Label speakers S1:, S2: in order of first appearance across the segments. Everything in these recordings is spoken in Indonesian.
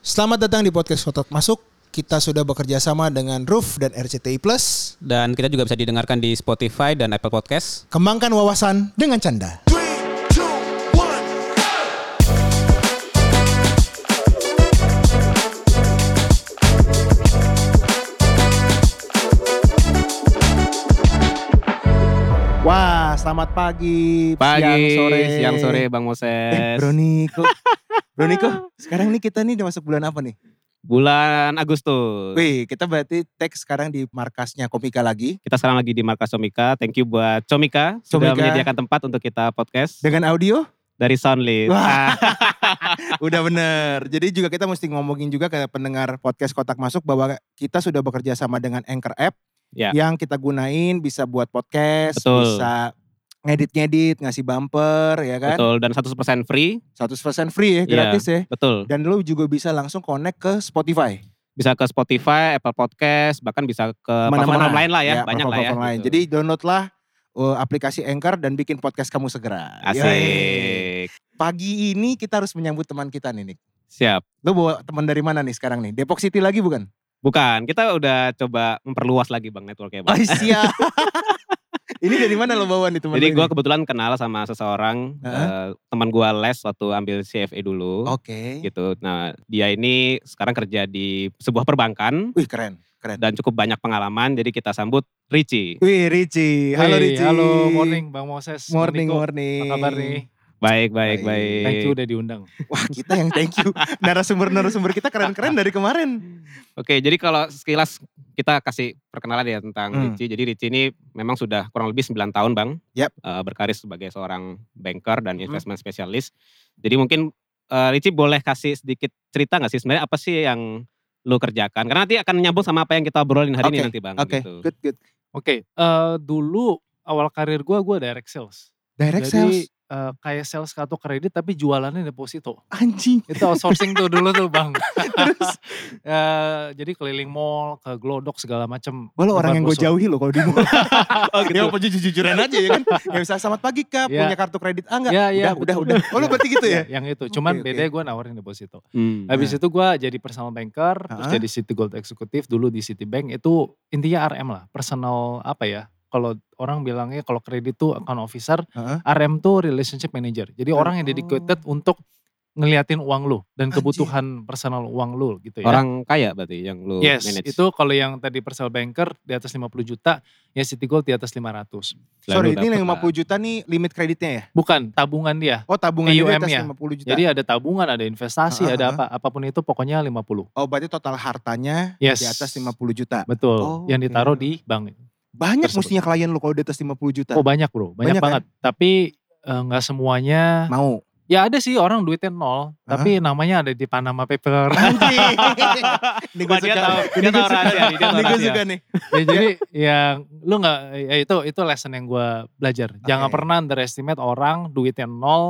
S1: Selamat datang di podcast Kotak Masuk. Kita sudah bekerja sama dengan Roof dan RCTI Plus.
S2: Dan kita juga bisa didengarkan di Spotify dan Apple Podcast.
S1: Kembangkan wawasan dengan canda.
S3: Three, two, one.
S1: Wah, selamat pagi,
S2: Pagi,
S1: siang, sore, Eh,
S2: siang sore Bang Moses.
S1: Bro Niko, Bro Niko, sekarang nih kita nih udah masuk bulan apa nih?
S2: Bulan Agustus.
S1: Wih, kita berarti tag sekarang di markasnya Komika lagi
S2: Kita sekarang lagi di markas Comika. Thank you buat Comika, sudah
S1: Comika.
S2: menyediakan tempat untuk kita podcast
S1: dengan audio.
S2: dari Soundlist.
S1: Wah.
S2: Ah,
S1: Udah bener. Jadi juga kita mesti ngomongin juga ke pendengar podcast Kotak Masuk bahwa kita sudah bekerja sama dengan Anchor App
S2: Ya.
S1: yang kita gunain bisa buat podcast,
S2: Betul.
S1: bisa ngedit-ngedit, ngasih bumper ya kan.
S2: betul dan 100% free.
S1: 100% free ya,
S2: Iya.
S1: gratis ya.
S2: Betul.
S1: Dan lu juga bisa langsung connect ke Spotify.
S2: Eh, Bisa ke Spotify, Apple Podcast, bahkan bisa ke platform lain lah ya, banyak lah ya.
S1: platform lain.
S2: gitu.
S1: Jadi downloadlah uh, aplikasi Anchor dan bikin podcast kamu segera. Yoi.
S2: asik.
S1: Pagi ini kita harus menyambut teman kita nih, Nick.
S2: Siap.
S1: Lu bawa teman dari mana nih sekarang nih? Depok City lagi bukan?
S2: Bukan, kita udah coba memperluas lagi Bang networknya Bang.
S1: Oh iya. ini dari mana lo bawa nih teman
S2: Jadi
S1: lu
S2: gue
S1: ini?
S2: kebetulan kenal sama seseorang eh,
S1: Heeh.
S2: teman gue les waktu ambil CFA dulu
S1: Oke.
S2: gitu. Nah dia ini sekarang kerja di sebuah perbankan
S1: Wih keren, keren.
S2: dan cukup banyak pengalaman. Jadi kita sambut Ricci.
S1: Wih Ricci, Iya, halo
S4: Hey,
S1: Ricci.
S4: Halo, morning Bang Moses. Bang
S1: Morning,
S4: Niko.
S1: morning.
S4: Apa kabar nih?
S2: Baik baik baik.
S4: Thank you udah diundang.
S1: Wah kita yang thank you. Narasumber-narasumber kita keren-keren dari kemarin.
S2: Oke jadi kalau sekilas kita kasih perkenalan ya tentang
S1: Hmm.
S2: Ricci. Jadi Ricci ini memang sudah kurang lebih 9 tahun bang
S1: Yap. Hmm.
S2: eh, berkarir sebagai seorang banker dan
S4: Mhm.
S2: investment specialist. Jadi mungkin eh, Ricci boleh kasih sedikit cerita nggak sih sebenarnya apa sih yang lu kerjakan? Karena nanti akan nyambung sama apa yang kita obrolin hari ini nanti bang.
S1: Oke,
S2: gitu.
S1: good, good.
S4: Oke, eh, dulu awal karir gua gua direct sales.
S1: Direct sales.
S4: Jadi eh, kayak sales kartu kredit tapi jualannya deposito.
S1: Anjing.
S4: Itu outsourcing tuh dulu tuh Bang. Eh, jadi keliling mall, ke Glodok segala macem.
S1: Gue lo orang
S4: Tempat
S1: yang gue
S4: busuk.
S1: jauhi lo kalau di mall.
S2: Oh gitu.
S1: ya apa jujur-jujuran aja ya kan. Gak bisa selamat pagi kak,
S4: Ya.
S1: punya kartu kredit ah enggak.
S4: Ya, ya,
S1: udah, udah, udah.
S4: betul.
S1: Oh lo berarti gitu ya?
S4: Ya, yang itu. Cuman
S1: Oke, oke.
S4: bedanya gua nawarin deposito.
S2: Hmm.
S4: Habis itu gua jadi personal banker, terus
S1: Ah.
S4: jadi City Gold Eksekutif dulu di Citibank itu intinya RM lah, personal apa ya? Kalau orang bilangnya kalau kredit tuh account officer,
S1: Heeh.
S4: RM tuh relationship manager. Jadi orang yang
S1: Oh.
S4: dedicated untuk ngeliatin uang lu dan
S1: Anjir.
S4: kebutuhan personal uang lu gitu ya.
S2: Orang kaya berarti yang lu
S4: Yes,
S2: manage.
S4: itu kalau yang tadi personal banker di atas 50 juta, ya City Gold di atas 500.
S2: Lah,
S1: Sorry
S2: lu
S1: ini yang
S2: dapet lah.
S1: 50 juta nih limit kreditnya ya?
S4: Bukan tabungan dia.
S1: Oh tabungan di atas
S4: AUM-nya.
S1: 50 juta.
S4: Jadi ada tabungan, ada
S1: Ah,
S4: investasi,
S1: ah,
S4: ada
S1: ah.
S4: apa, apapun itu pokoknya 50.
S1: oh berarti total hartanya
S4: Yes.
S1: di atas 50 juta.
S4: Betul,
S1: Oh,
S4: yang
S1: oke.
S4: ditaruh di bank.
S1: Banyak
S4: Tersebut.
S1: mestinya klien lo kalau di atas 50 juta.
S4: Oh banyak bro,
S1: Banyak,
S4: banyak, banget. Tapi eh, nggak semuanya.
S1: Mau.
S4: Ya ada sih orang duitnya nol,
S1: Hah?
S4: tapi namanya ada di Panama Paper.
S1: Anjing. Ini gue
S2: Wah, dia
S1: suka.
S2: tahu-
S1: Ini
S2: dia
S1: gue
S2: tahu
S1: suka.
S2: rahasia nih, dia tahu
S1: Ini gue
S2: rahasia.
S1: suka nih.
S4: ya, jadi yang lu nggak ya itu itu lesson yang gue belajar. Jangan
S1: Oke.
S4: pernah underestimate orang duitnya nol,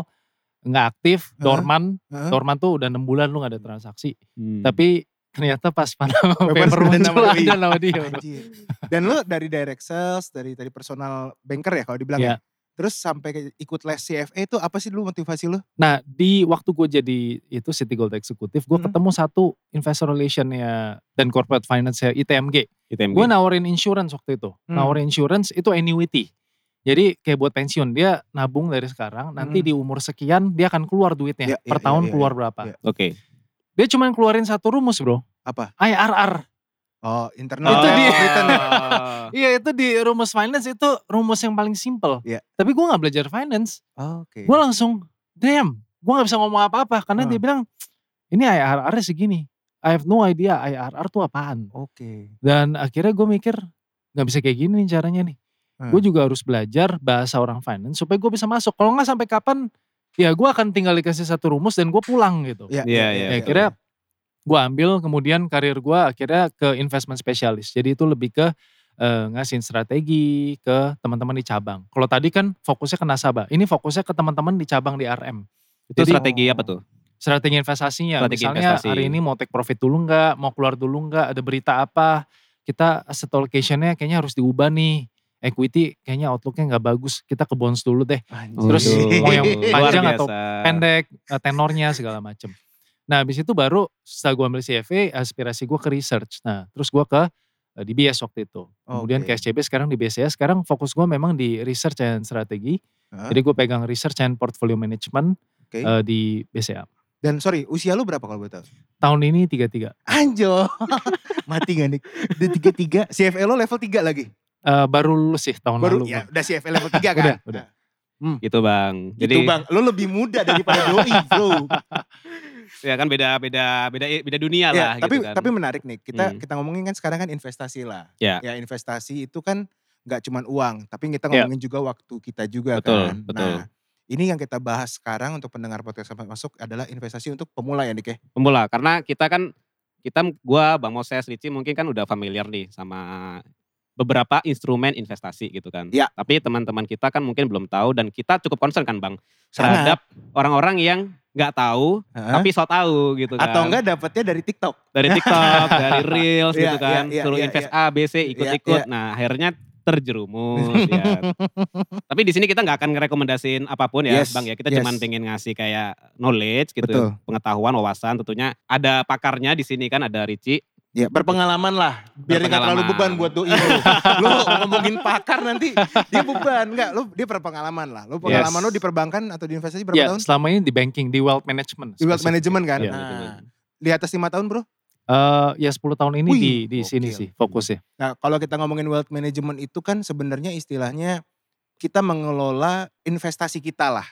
S4: nggak aktif,
S1: Hah?
S4: dorman,
S1: Hah?
S4: dorman tuh udah enam bulan lu nggak ada transaksi.
S2: Hmm.
S4: Tapi ternyata pas Panama Paper
S1: sudah
S4: muncul
S1: nol.
S4: ada nama dia. bro.
S1: Anjir. Dan lu dari direct sales, dari dari personal banker ya kalau dibilang ya.
S4: Iya.
S1: Terus sampai ke ikut les CFA itu apa sih dulu motivasi lu?
S4: Nah di waktu gue jadi itu City Gold Eksekutif, gue
S1: Hmm.
S4: ketemu satu investor relationnya dan corporate finance ITMG.
S2: ITMG.
S4: Gue nawarin insurance waktu itu.
S1: Hmm.
S4: Nawarin insurance itu annuity. Jadi kayak buat pensiun dia nabung dari sekarang, nanti
S1: Hmm.
S4: di umur sekian dia akan keluar
S1: Ya,
S4: duitnya.
S1: ya,
S4: per
S1: ya,
S4: tahun
S1: ya,
S4: keluar
S1: ya,
S4: berapa.
S1: ya.
S2: Oke.
S4: Dia cuma keluarin satu rumus bro.
S1: Apa?
S4: IRR.
S1: Oh, internal ya?
S4: Itu
S1: rate
S4: dia.
S1: of return.
S4: Iya itu di rumus finance itu rumus yang paling simple.
S1: Ya.
S4: Tapi gue gak belajar finance.
S1: Oke.
S4: Gue langsung damn. Gue gak bisa ngomong apa-apa. Karena
S1: Hmm.
S4: dia bilang ini IRR -nya segini. I have no idea IRR tuh apaan.
S1: Oke.
S4: Dan akhirnya gue mikir nggak bisa kayak gini nih caranya nih.
S1: Hmm.
S4: Gue juga harus belajar bahasa orang finance supaya gue bisa masuk. Kalau nggak sampai kapan ya gue akan tinggal dikasih satu rumus dan gue pulang gitu.
S1: Iya,
S2: Iya,
S1: iya,
S2: iya.
S4: ya, akhirnya gue ambil kemudian karir gue akhirnya ke investment specialist. Jadi itu lebih ke eh, ngasihin strategi ke teman-teman di cabang. Kalau tadi kan fokusnya ke nasabah, ini fokusnya ke teman-teman di cabang di RM.
S2: Itu
S4: Jadi-
S2: strategi apa tuh?
S4: Strategi investasinya,
S2: Strategi
S4: misalnya
S2: investasi.
S4: hari ini mau take profit dulu nggak, mau keluar dulu nggak, ada berita apa, kita asset allocation-nya kayaknya harus diubah nih. Equity kayaknya outlook-nya nggak bagus, kita ke bonds dulu deh.
S1: ya. Anjir.
S4: Terus
S2: Waduh.
S4: mau yang
S2: Luar
S1: Iya.
S4: panjang atau
S2: biasa.
S4: pendek, eh, tenornya segala macem. Nah habis itu baru setelah gue ambil CFA, aspirasi gue ke research. Nah terus gue ke eh, DBS waktu itu. Kemudian
S1: Oke.
S4: ke SCB sekarang di BCS. Sekarang fokus gue memang di research and strategi.
S1: Hah?
S4: Jadi gue pegang research and portfolio management
S1: Oke.
S4: eh, di BCA.
S1: Dan sorry, usia lu berapa kalau boleh tahu?
S4: Tahun ini tiga-tiga.
S1: Anjo. Mati gak nih? Udah tiga-tiga. CFL lo level 3 lagi.
S4: Eh, baru lulus sih tahun
S1: Baru
S4: lalu.
S1: ya
S4: Bang.
S1: udah CFL level 3 kan?
S4: Udah, udah.
S2: gitu bang. Jadi
S1: Gitu bang, lo lebih muda daripada doi bro.
S2: ya kan beda beda beda beda dunia
S1: Ya,
S2: lah.
S1: tapi
S2: gitu kan.
S1: tapi menarik nih. Kita
S2: Hmm.
S1: kita ngomongin kan sekarang kan investasi lah.
S2: Ya.
S1: Ya investasi itu kan nggak cuman uang, tapi kita
S4: Ya.
S1: ngomongin juga waktu kita juga
S2: Iya. Betul,
S1: kan.
S2: betul.
S1: Nah, ini yang kita bahas sekarang untuk pendengar podcast Sahabat masuk adalah investasi untuk pemula ya Dike.
S2: pemula karena kita kan kita gua Bang Moses Ricci mungkin kan udah familiar nih sama beberapa instrumen investasi gitu kan.
S1: Ya.
S2: Tapi teman-teman kita kan mungkin belum tahu dan kita cukup concern kan Bang
S1: Sangat.
S2: terhadap orang-orang yang nggak tahu
S1: Hah?
S2: tapi so tahu gitu kan.
S1: Atau enggak dapatnya dari TikTok.
S2: dari TikTok, dari Reels
S1: Iya,
S2: gitu kan,
S1: iya, iya,
S2: suruh
S1: iya,
S2: invest
S1: iya.
S2: A, B, C, ikut-ikut. Nah, akhirnya terjerumus ya. Tapi di sini kita nggak akan ngerekomendasiin apapun ya,
S1: Yes,
S2: Bang ya. Kita
S1: yes.
S2: cuman pengen ngasih kayak knowledge gitu,
S1: Betul.
S2: pengetahuan, wawasan tentunya. Ada pakarnya di sini kan ada Ricci.
S1: Ya berpengalaman lah. Biar nggak terlalu beban
S2: Berpengalaman.
S1: buat doi lu. Lu ngomongin pakar nanti dia beban. Enggak, lu dia berpengalaman lah. Lu pengalaman
S4: Yes.
S1: lu di perbankan atau di investasi berapa
S4: Ya,
S1: tahun?
S4: selama ini di banking, di wealth management.
S1: Di wealth
S4: spesifik.
S1: management kan.
S4: Iya.
S1: Nah, di atas lima tahun bro.
S4: Eh, ya 10 tahun ini
S1: Wih,
S4: di di sini
S1: gokil.
S4: sih fokusnya.
S1: Nah kalau kita ngomongin wealth management itu kan sebenarnya istilahnya kita mengelola investasi kita lah.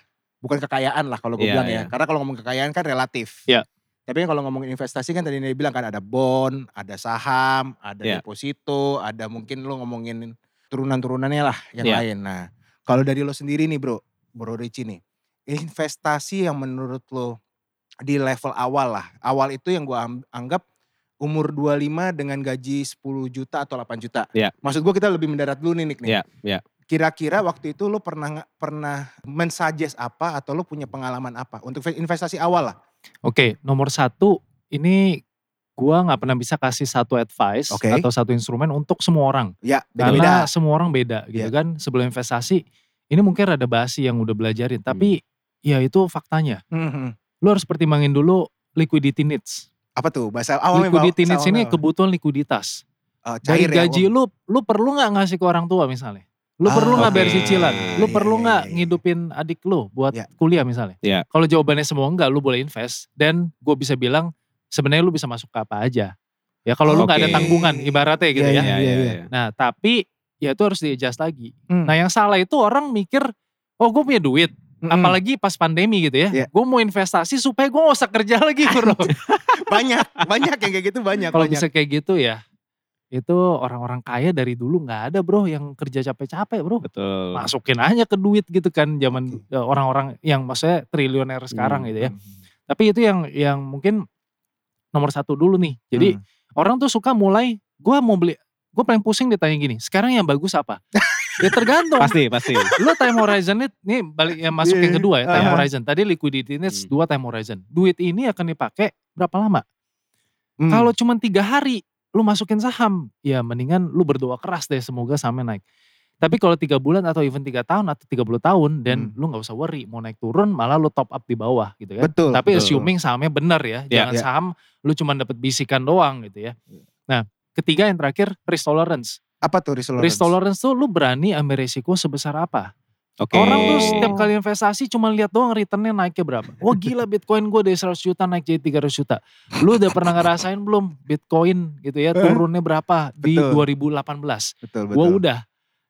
S1: Bukan kekayaan lah kalau gue
S2: Iya,
S1: bilang
S2: iya.
S1: ya. Karena kalau ngomong kekayaan kan relatif.
S4: Iya.
S1: Tapi kalau ngomongin investasi kan tadi dia bilang kan ada bond, ada saham, ada
S2: Iya.
S1: deposito, ada mungkin lo ngomongin turunan-turunannya lah yang
S2: Iya.
S1: lain. Nah kalau dari lo sendiri nih bro, bro Ricci nih. Investasi yang menurut lo di level awal lah. Awal itu yang gue anggap umur 25 dengan gaji 10 juta atau 8 juta.
S4: Ya.
S2: Iya.
S1: Maksud gue kita lebih mendarat dulu nih Nick nih.
S2: Iya, iya.
S1: Kira-kira waktu itu lo pernah nggak- pernah mensuggest apa atau lo punya pengalaman apa untuk investasi awal lah.
S4: Oke, nomor satu ini gua nggak pernah bisa kasih satu advice
S1: Oke.
S4: atau satu instrumen untuk semua orang.
S1: Ya,
S4: Karena
S1: beda-beda.
S4: semua orang beda gitu
S1: Iya.
S4: kan. Sebelum investasi ini mungkin ada basi yang udah belajarin,
S1: Hmm.
S4: tapi ya itu faktanya.
S1: Mhm.
S4: Lu harus pertimbangin dulu liquidity needs.
S1: Apa tuh bahasa awalnya?
S4: liquidity needs ini kebutuhan likuiditas.
S1: Oh,
S4: Dari gaji lu, lu perlu nggak ngasih ke orang tua misalnya? Lu
S1: ya, Ah,
S4: perlu nggak bayar
S2: oke.
S4: cicilan? Lu
S1: Iya,
S4: perlu
S1: iya,
S4: nggak
S1: iya, iya.
S4: ngidupin adik lu buat
S1: Iya.
S4: kuliah misalnya?
S2: Iya.
S4: Kalau jawabannya semua enggak, lu boleh invest. Dan gue bisa bilang sebenarnya lu bisa masuk ke apa aja. Ya kalau lu nggak ada
S2: Oke.
S4: tanggungan ibaratnya gitu
S1: Iya,
S4: ya.
S1: iya,
S2: Iya, iya,
S1: iya.
S2: iya.
S4: Nah tapi ya itu harus di-adjust lagi.
S1: Hmm.
S4: Nah yang salah itu orang mikir, oh gue punya duit.
S1: Hmm.
S4: Apalagi pas pandemi gitu ya.
S1: Iya.
S4: Gue mau investasi supaya gue gak usah kerja lagi bro.
S1: banyak, banyak yang kayak gitu banyak.
S4: Kalau
S1: banyak.
S4: bisa kayak gitu ya. Itu orang-orang kaya dari dulu nggak ada bro yang kerja capek-capek bro.
S2: Betul.
S4: Masukin aja ke duit gitu kan zaman eh, orang-orang yang maksudnya triliuner
S2: Hmm.
S4: sekarang gitu ya. Tapi itu yang yang mungkin nomor satu dulu nih. Jadi
S1: Hmm.
S4: orang tuh suka mulai gue mau beli gue paling pusing ditanya gini sekarang yang bagus apa ya tergantung
S2: Pasti, pasti.
S4: lu time horizon nih balik yang masuk yang kedua ya time
S1: Iya.
S4: horizon tadi liquidity needs
S2: Hmm.
S4: dua time horizon duit ini akan dipakai berapa lama
S1: Hmm.
S4: kalau cuma tiga hari lu masukin saham ya mendingan lu berdoa keras deh semoga sahamnya naik tapi kalau tiga bulan atau even tiga tahun atau 30 tahun dan
S1: Hmm.
S4: lu nggak usah worry mau naik turun malah lu top up di bawah gitu kan
S1: betul.
S4: tapi
S1: betul.
S4: assuming sahamnya benar ya,
S2: Ya,
S4: jangan
S1: ya.
S4: saham lu cuma dapat bisikan doang gitu ya. Nah, ketiga yang terakhir risk tolerance.
S1: apa tuh risk tolerance?
S4: Risk tolerance tuh lu berani ambil resiko sebesar apa?
S2: Oke.
S4: Orang tuh setiap kali investasi cuma lihat doang returnnya naiknya berapa. Wah gila Bitcoin gue dari 100 juta naik jadi 300 juta. Lu udah pernah ngerasain belum Bitcoin gitu
S1: Eh?
S4: ya turunnya berapa di
S1: Betul.
S4: 2018?
S1: Betul, betul.
S4: Gua udah.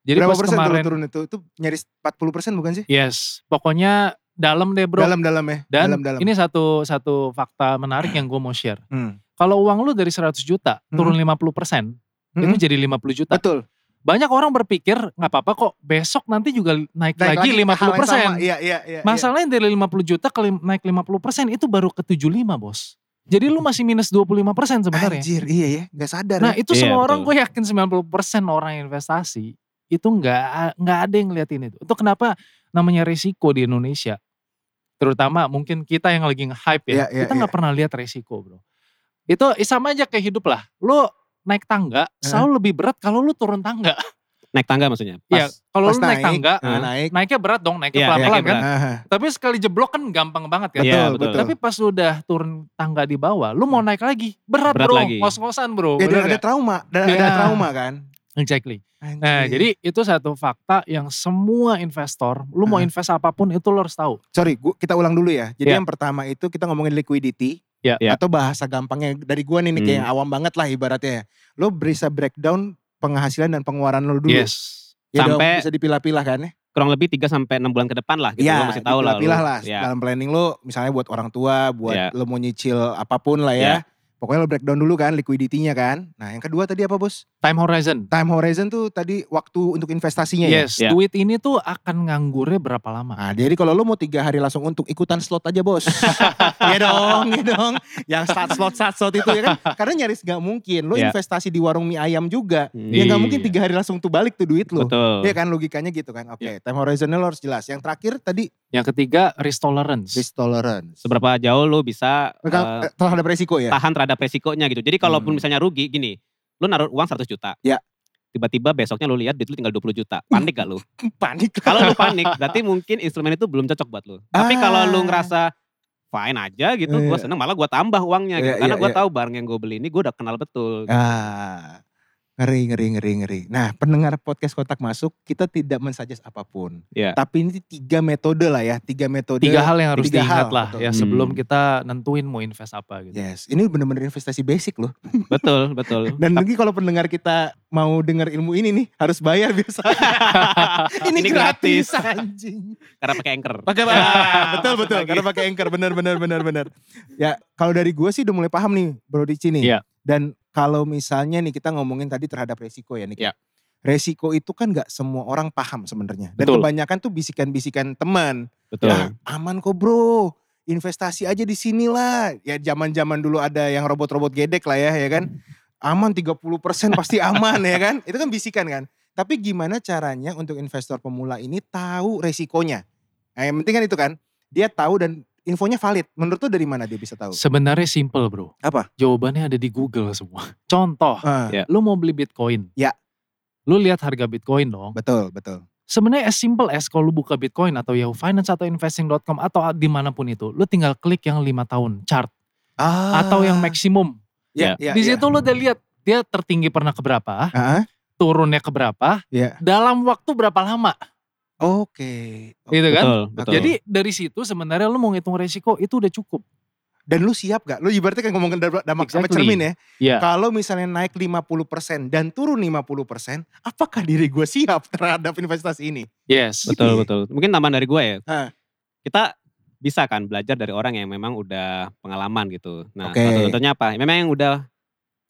S4: Jadi
S1: Berapa
S4: pas
S1: persen tuh
S4: kemarin
S1: lo turun itu? Itu nyaris 40 persen bukan sih?
S4: yes, pokoknya dalam deh bro.
S1: Dalam-dalam ya?
S4: Dan
S1: dalam-dalam.
S4: ini satu satu fakta menarik yang gue mau share.
S1: Hmm.
S4: Kalau uang lu dari 100 juta turun 50 persen, itu
S1: Mm-mm.
S4: jadi 50 juta.
S1: Hmm. Betul.
S4: Banyak orang berpikir nggak apa-apa kok besok nanti juga naik, lagi
S1: hal
S4: 50
S1: yang
S4: persen.
S1: Ah, sama. Iya, iya, iya.
S4: Masalahnya dari 50 juta ke lim- naik 50 persen itu baru ke 75 bos. Jadi lu masih minus 25 persen
S1: iya.
S4: sebenarnya.
S1: Anjir, iya ya, gak sadar.
S4: Nah itu
S2: Iya,
S4: semua
S2: betul.
S4: orang gue yakin 90 persen orang investasi itu nggak nggak ada yang ngeliatin itu. Itu kenapa namanya resiko di Indonesia. Terutama mungkin kita yang lagi nge-hype
S1: Iya,
S4: ya.
S1: iya,
S4: kita nggak pernah lihat resiko bro. Itu eh, sama aja kayak hidup lah. Lu naik tangga selalu lebih berat kalau lu turun tangga.
S2: Naik tangga maksudnya.
S4: Iya,
S2: Pas.
S4: kalau
S1: Pas
S4: lu naik
S1: naik,
S4: tangga,
S1: nah, naik.
S4: naiknya berat dong, naiknya
S2: Iya,
S4: pelan-pelan
S2: naiknya
S4: kan.
S1: Aha,
S4: Tapi sekali jeblok kan gampang banget kan.
S2: Iya,
S1: betul,
S2: betul. Hmm.
S1: betul.
S4: Tapi pas lu udah turun tangga di bawah, lu mau naik lagi, berat,
S2: Berat
S4: bro,
S2: lagi.
S4: ngos-ngosan bro.
S1: Ya,
S4: bener
S1: dan ada
S4: nggak?
S1: trauma, dan ada
S4: Iya.
S1: trauma kan.
S4: Exactly.
S2: Iya.
S4: Nah,
S1: Anjir.
S4: jadi itu satu fakta yang semua investor, lu
S1: Ah.
S4: mau invest apapun itu lu harus tahu.
S1: sorry, gua, kita ulang dulu ya. Jadi
S4: Iya.
S1: yang pertama itu kita ngomongin liquidity.
S4: Iya,
S2: iya.
S1: Atau bahasa gampangnya dari gua nih, nih kayak
S2: Hmm.
S1: awam banget lah ibaratnya. ya. Lo bisa breakdown penghasilan dan pengeluaran lo dulu.
S4: Yes.
S1: Ya dong,
S2: Sampai-
S1: bisa dipilah-pilah kan ya.
S2: Kurang lebih 3 sampai 6 bulan ke depan lah gitu.
S1: Iya,
S2: Lo masih tahu lah. lo.
S1: dipilah-pilah lah.
S2: Iya.
S1: Dalam planning lo misalnya buat orang tua, buat
S2: Iya.
S1: lo mau nyicil apapun lah ya. Pokoknya lo breakdown dulu kan liquidity-nya kan. Nah yang kedua tadi apa bos?
S4: Time horizon.
S1: Time horizon tuh tadi waktu untuk investasinya ya?
S4: Yes,
S2: Iya.
S4: duit ini tuh akan nganggurnya berapa lama?
S1: Nah, jadi kalau lo mau tiga hari langsung untuk ikutan slot aja bos. Iya dong, iya dong. Yang start slot, start slot itu ya kan. Karena nyaris gak mungkin. Lo
S2: Iya.
S1: investasi di warung mie ayam juga.
S2: Hmm.
S1: Ya gak mungkin
S4: Iya.
S1: tiga hari langsung tuh balik tuh duit lo.
S2: Betul.
S1: Iya
S2: Iya.
S1: kan logikanya gitu kan. Oke, time horizonnya lo harus jelas. Yang terakhir tadi
S4: Yang ketiga, risk tolerance.
S1: risk tolerance.
S2: Seberapa jauh lo bisa eh,
S1: Maka, eh, terhadap resiko ya.
S2: tahan terhadap resikonya gitu. Jadi kalaupun
S1: Hmm.
S2: misalnya rugi gini, lu naruh uang 100 juta.
S1: Ya.
S2: Tiba-tiba besoknya lu lihat duit lu tinggal 20 juta. Panik gak lu?
S1: Panik.
S2: kalau lu panik berarti mungkin instrumen itu belum cocok buat lu. Tapi kalau lu
S1: Ah.
S2: ngerasa fine aja gitu,
S1: Iya.
S2: gue seneng malah gue tambah uangnya gitu.
S1: Iya,
S2: Karena
S1: iya,
S2: gue
S1: iya.
S2: tahu barang yang gue beli ini gue udah kenal betul.
S1: Ah, ngeri, ngeri, ngeri, ngeri. Nah, pendengar podcast kotak masuk, kita tidak mensuggest apapun.
S2: Iya.
S1: Tapi ini tiga metode lah ya. Tiga metode.
S4: tiga hal yang harus
S1: tiga hal,
S4: diingat lah
S1: betul. Iya,
S4: ya
S2: Hmm.
S4: sebelum kita nentuin mau invest apa gitu.
S1: Yes, ini bener-bener investasi basic loh.
S2: betul, betul.
S1: Dan lagi kalau pendengar kita mau dengar ilmu ini nih harus bayar biasa. ini,
S2: Ini
S1: gratis,
S2: gratis.
S1: anjing.
S2: Karena pakai anchor.
S1: Pakai
S2: Ya,
S1: betul betul
S2: lagi.
S4: gitu.
S1: karena pakai anchor benar benar benar benar. Ya, kalau dari gue sih udah mulai paham nih Bro Dici nih.
S4: Iya.
S1: Dan kalau misalnya nih kita ngomongin tadi terhadap resiko ya nih.
S2: Iya.
S1: Resiko itu kan nggak semua orang paham sebenarnya. Dan
S4: Betul.
S1: kebanyakan tuh bisikan-bisikan teman.
S2: Betul.
S1: Ah, aman kok bro. Investasi aja di sinilah. Ya zaman-zaman dulu ada yang robot-robot gedek lah ya, ya kan. Aman 30% pasti aman ya kan. Itu kan bisikan kan. Tapi gimana caranya untuk investor pemula ini tahu resikonya? Nah, yang penting kan itu kan. Dia tahu dan infonya valid. Menurut tuh dari mana dia bisa tahu?
S4: Sebenarnya simple bro.
S1: Apa?
S4: Jawabannya ada di Google semua. Contoh,
S1: Ah,
S2: Ya.
S4: lu mau beli Bitcoin.
S1: Ya.
S4: Lu lihat harga Bitcoin dong.
S1: Betul, betul.
S4: Sebenarnya as simple as kalau lu buka Bitcoin atau Yahoo Finance atau investing.com atau dimanapun itu, lu tinggal klik yang lima tahun chart
S1: Ah,
S4: atau yang maksimum.
S1: Ya, ya,
S4: di
S1: ya.
S4: situ lu udah lihat dia tertinggi pernah ke berapa,
S1: Ah,
S4: turunnya ke berapa,
S1: Ya.
S4: dalam waktu berapa lama,
S1: Oke.
S4: gitu kan?
S2: Betul, betul.
S4: Jadi dari situ sebenarnya lu mau ngitung resiko itu udah cukup.
S1: Dan lu siap gak? Lu ibaratnya kan ngomongin dam- damak sama
S4: Exactly.
S1: cermin ya.
S4: Iya.
S1: Kalau misalnya naik 50% dan turun 50%, apakah diri gue siap terhadap investasi ini?
S4: Yes.
S2: betul, betul. Mungkin tambahan dari gue ya.
S1: Ah.
S2: Kita bisa kan belajar dari orang yang memang udah pengalaman gitu. Nah,
S1: Oke.
S2: salah satu contohnya apa? Memang yang udah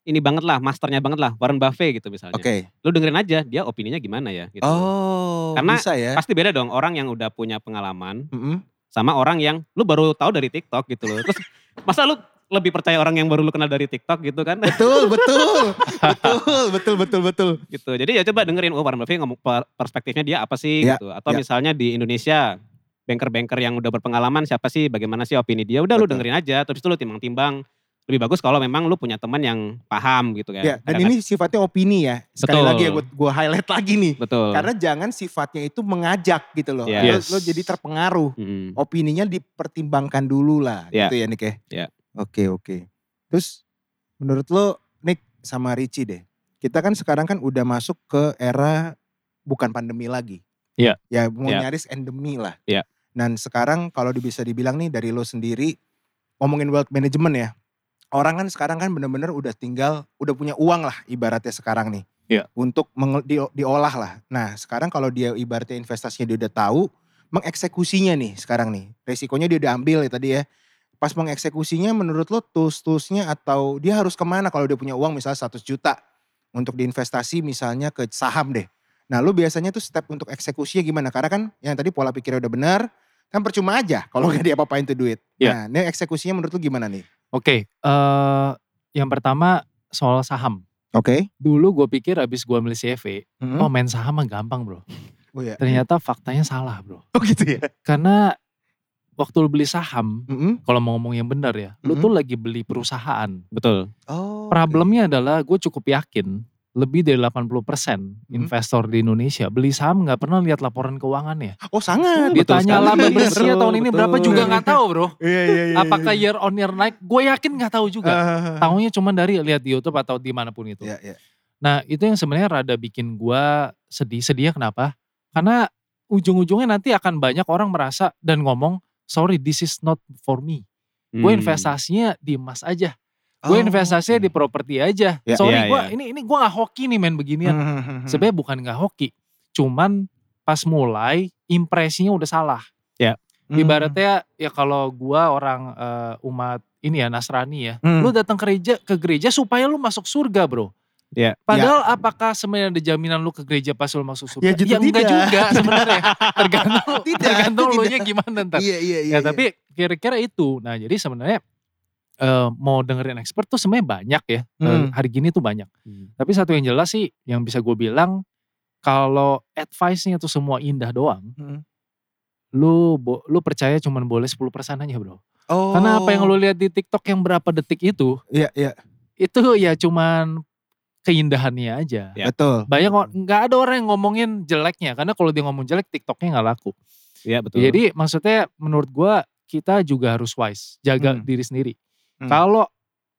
S2: ini banget lah, masternya banget lah, Warren Buffett gitu misalnya.
S1: Oke.
S2: Lu dengerin aja dia opininya gimana ya gitu.
S1: Oh,
S2: Karena
S1: bisa ya.
S2: Pasti beda dong orang yang udah punya pengalaman
S1: Mm-mm.
S2: sama orang yang lu baru tahu dari TikTok gitu loh. Terus masa lu lebih percaya orang yang baru lu kenal dari TikTok gitu kan?
S1: Betul, betul. betul, betul, betul, betul.
S2: gitu. Jadi ya coba dengerin oh Warren Buffett ngomong per- perspektifnya dia apa sih
S1: Ya,
S2: gitu. Atau
S1: ya.
S2: misalnya di Indonesia banker-banker yang udah berpengalaman siapa sih, bagaimana sih opini dia. Udah lu
S1: Betul.
S2: dengerin aja terus itu lu timbang-timbang. Lebih bagus kalau memang lu punya teman yang paham gitu kan.
S1: Ya, dan
S2: Kadang-kadang-
S1: ini sifatnya opini ya. Sekali
S2: Betul.
S1: lagi ya gue highlight lagi nih.
S2: betul.
S1: Karena jangan sifatnya itu mengajak gitu loh.
S2: Ya.
S1: Lo-
S4: Yes.
S1: Lo, jadi terpengaruh.
S2: Mm.
S1: Opininya dipertimbangkan dulu lah
S2: Ya.
S1: gitu ya Nick ya.
S2: Ya.
S1: Oke, oke. Terus menurut lo Nick sama Ricci deh. Kita kan sekarang kan udah masuk ke era bukan pandemi lagi.
S4: Ya.
S1: Ya mau
S2: Ya.
S1: nyaris endemi lah.
S2: Ya.
S1: Dan sekarang kalau di- bisa dibilang nih dari lo sendiri ngomongin wealth management ya. Orang kan sekarang kan bener-bener udah tinggal, udah punya uang lah ibaratnya sekarang nih
S2: Ya.
S1: untuk menge- di- diolah lah. Nah sekarang kalau dia ibaratnya investasinya dia udah tahu, mengeksekusinya nih sekarang nih. Resikonya dia udah ambil ya tadi ya. Pas mengeksekusinya menurut lo tools-toolsnya atau dia harus kemana kalau dia punya uang misalnya 100 juta. Untuk diinvestasi misalnya ke saham deh. Nah lo biasanya tuh step untuk eksekusinya gimana? Karena kan yang tadi pola pikirnya udah benar. Kan percuma aja kalau gak diapa-apain tuh duit. Nah
S4: Iya.
S1: ini eksekusinya menurut lo gimana nih?
S4: Oke, eh, yang pertama soal saham.
S1: Oke.
S4: Dulu gue pikir abis gue beli CV,
S1: Mm-mm.
S4: oh main saham mah gampang bro.
S1: Mm-hmm. Oh, iya.
S4: Ternyata faktanya salah bro.
S1: Oh gitu ya? Mm-hmm.
S4: Karena waktu lu beli saham,
S1: Mm-mm.
S4: kalau mau ngomong yang benar ya, lu
S1: Mhm.
S4: tuh lagi beli perusahaan.
S2: Betul.
S1: Oh. oke.
S4: Problemnya adalah gue cukup yakin lebih dari 80%
S1: Mm-hmm.
S4: investor di Indonesia beli saham nggak pernah lihat laporan keuangannya.
S1: Oh sangat.
S2: Betul
S4: Ditanya
S2: sekali.
S4: laba
S2: Betul,
S4: bersihnya tahun ini berapa
S1: Iya, betul.
S4: juga nggak tahu bro.
S1: Iya iya iya.
S4: Apakah year on year naik? Gue yakin nggak tahu juga.
S1: Tahu.
S4: Tahunya cuma dari lihat di YouTube atau dimanapun itu.
S1: Iya iya.
S4: Nah itu yang sebenarnya rada bikin gua sedih. Sedihnya kenapa? Karena ujung-ujungnya nanti akan banyak orang merasa dan ngomong, sorry this is not for me. Gue
S2: Hmm.
S4: investasinya di emas aja. Gue
S1: Oh.
S4: investasinya di properti aja.
S1: Ya,
S2: ya,
S4: sorry gua
S2: ya.
S4: ini ini gue gak hoki nih main beginian.
S1: Hmm.
S4: Sebenarnya bukan gak hoki. Cuman pas mulai impresinya udah salah.
S1: Hmm.
S4: Ibaratnya ya kalau gua orang eh, umat ini ya Nasrani ya.
S1: Hmm.
S4: Lu datang ke gereja, ke gereja supaya lu masuk surga bro.
S2: Ya.
S4: Padahal apakah sebenarnya ada jaminan lu ke gereja pas lu masuk
S1: Ya,
S4: surga?
S1: justru
S4: enggak
S1: tidak.
S4: juga sebenarnya. Tergantung,
S1: Tidak,
S4: tergantung
S1: tidak.
S4: lu nya gimana ntar.
S1: Iya iya iya. iya.
S4: Ya, tapi kira-kira itu. Nah jadi sebenarnya eh, mau dengerin expert tuh sebenarnya banyak ya. Eh,
S1: Hmm.
S4: hari gini tuh banyak.
S2: Hmm.
S4: Tapi satu yang jelas sih yang bisa gue bilang kalau advice-nya tuh semua indah doang,
S1: Hmm.
S4: lu bo- lu percaya cuman boleh 10% aja, Bro.
S1: Oh.
S4: Karena apa yang lu lihat di TikTok yang berapa detik itu,
S1: Iya iya.
S4: itu ya cuman keindahannya aja.
S2: Ya.
S1: Betul.
S4: Banyak or- nggak ada orang yang ngomongin jeleknya karena kalau dia ngomong jelek TikToknya nggak laku.
S2: Iya betul.
S4: Jadi maksudnya menurut gua kita juga harus wise, jaga
S1: Hmm.
S4: diri sendiri.
S1: Hmm.
S4: Kalau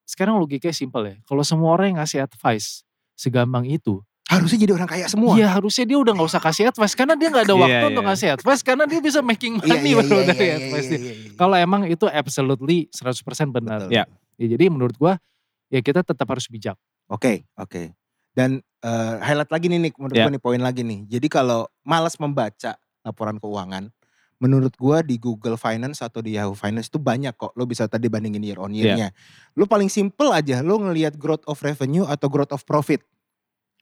S4: sekarang logikanya simpel ya. Kalau semua orang yang ngasih advice segampang itu,
S1: Harusnya jadi orang kaya semua.
S4: Iya harusnya dia udah gak usah kasih advice karena dia gak ada
S2: Iya,
S4: waktu untuk
S2: iya.
S4: ngasih advice karena dia bisa making
S1: Iya,
S4: money
S1: iya, iya,
S4: baru dari
S1: iya, iya,
S4: advice
S1: iya,
S4: dia.
S1: iya, iya.
S4: Kalau emang itu absolutely 100% benar.
S1: Betul.
S2: Ya.
S4: Ya, jadi menurut gua ya kita tetap harus bijak.
S1: Oke, oke. Dan eh, highlight lagi nih Nick, menurut
S2: Ya.
S1: gue nih poin lagi nih. Jadi kalau malas membaca laporan keuangan, menurut gua di Google Finance atau di Yahoo Finance itu banyak kok. Lo bisa tadi bandingin year on year-nya. Lo paling simple aja, lo ngelihat growth of revenue atau growth of profit.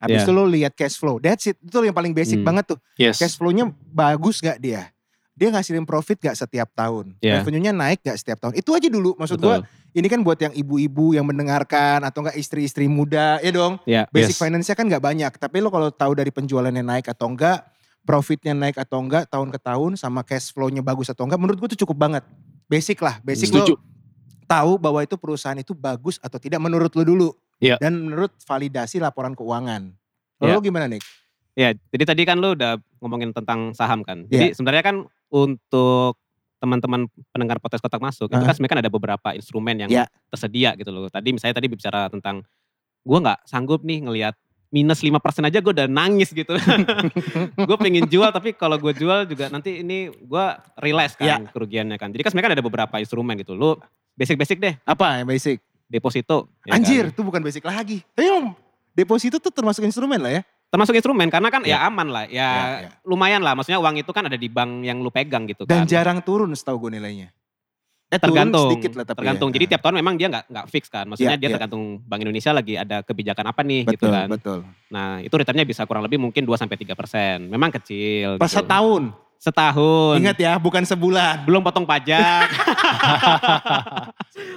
S1: Habis
S2: Ya.
S1: itu lo lihat cash flow. That's it. Itu yang paling basic
S2: Hmm.
S1: banget tuh.
S4: Yes.
S1: Cash flow-nya bagus gak dia? Dia ngasihin profit gak setiap tahun?
S2: Ya.
S4: Iya.
S1: Revenue-nya naik gak setiap tahun? Itu aja dulu. Maksud
S2: Betul.
S1: gua ini kan buat yang ibu-ibu yang mendengarkan atau enggak istri-istri muda ya dong
S2: Iya.
S1: basic
S4: Yes.
S1: finance-nya kan nggak banyak tapi lo kalau tahu dari penjualannya naik atau enggak profitnya naik atau enggak tahun ke tahun sama cash flow-nya bagus atau enggak menurut gue itu cukup banget basic lah basic
S4: Setuju.
S1: lo tahu bahwa itu perusahaan itu bagus atau tidak menurut lo dulu
S4: Iya.
S1: dan menurut validasi laporan keuangan lo,
S2: Iya.
S1: lo gimana Nick?
S2: Ya, jadi tadi kan lu udah ngomongin tentang saham kan. Jadi
S1: Ya.
S2: sebenarnya kan untuk teman-teman pendengar podcast kotak masuk itu
S1: Heeh.
S2: kan sebenarnya kan ada beberapa instrumen yang
S1: Ya.
S2: tersedia gitu loh. Tadi misalnya tadi bicara tentang gua nggak sanggup nih ngelihat minus 5% aja gue udah nangis gitu. gue pengen jual tapi kalau gue jual juga nanti ini gua realize kan
S1: Ya.
S2: kerugiannya kan. Jadi kan sebenarnya kan ada beberapa instrumen gitu. Lu basic-basic deh
S1: apa yang basic?
S2: deposito. ya kan?
S1: anjir itu bukan basic lagi tapi emang deposito tuh termasuk instrumen lah ya
S2: Termasuk instrumen karena kan
S1: Iya.
S2: ya, aman lah. Ya,
S1: Ya, ya.
S2: lumayan lah. Maksudnya uang itu kan ada di bank yang lu pegang gitu
S1: dan
S2: kan.
S1: jarang turun setahu gue nilainya eh, turun
S2: tergantung
S1: sedikit lah tapi ya.
S2: tergantung jadi tiap tahun memang dia nggak nggak fix kan maksudnya
S1: Ya,
S2: dia
S1: ya.
S2: tergantung bank Indonesia lagi ada kebijakan apa nih gitu
S1: betul
S2: kan
S1: betul
S2: nah itu returnnya bisa kurang lebih mungkin 2 sampai tiga persen memang kecil
S1: Pas
S2: gitu.
S1: setahun.
S2: setahun
S1: Ingat ya, bukan sebulan.
S2: belum potong pajak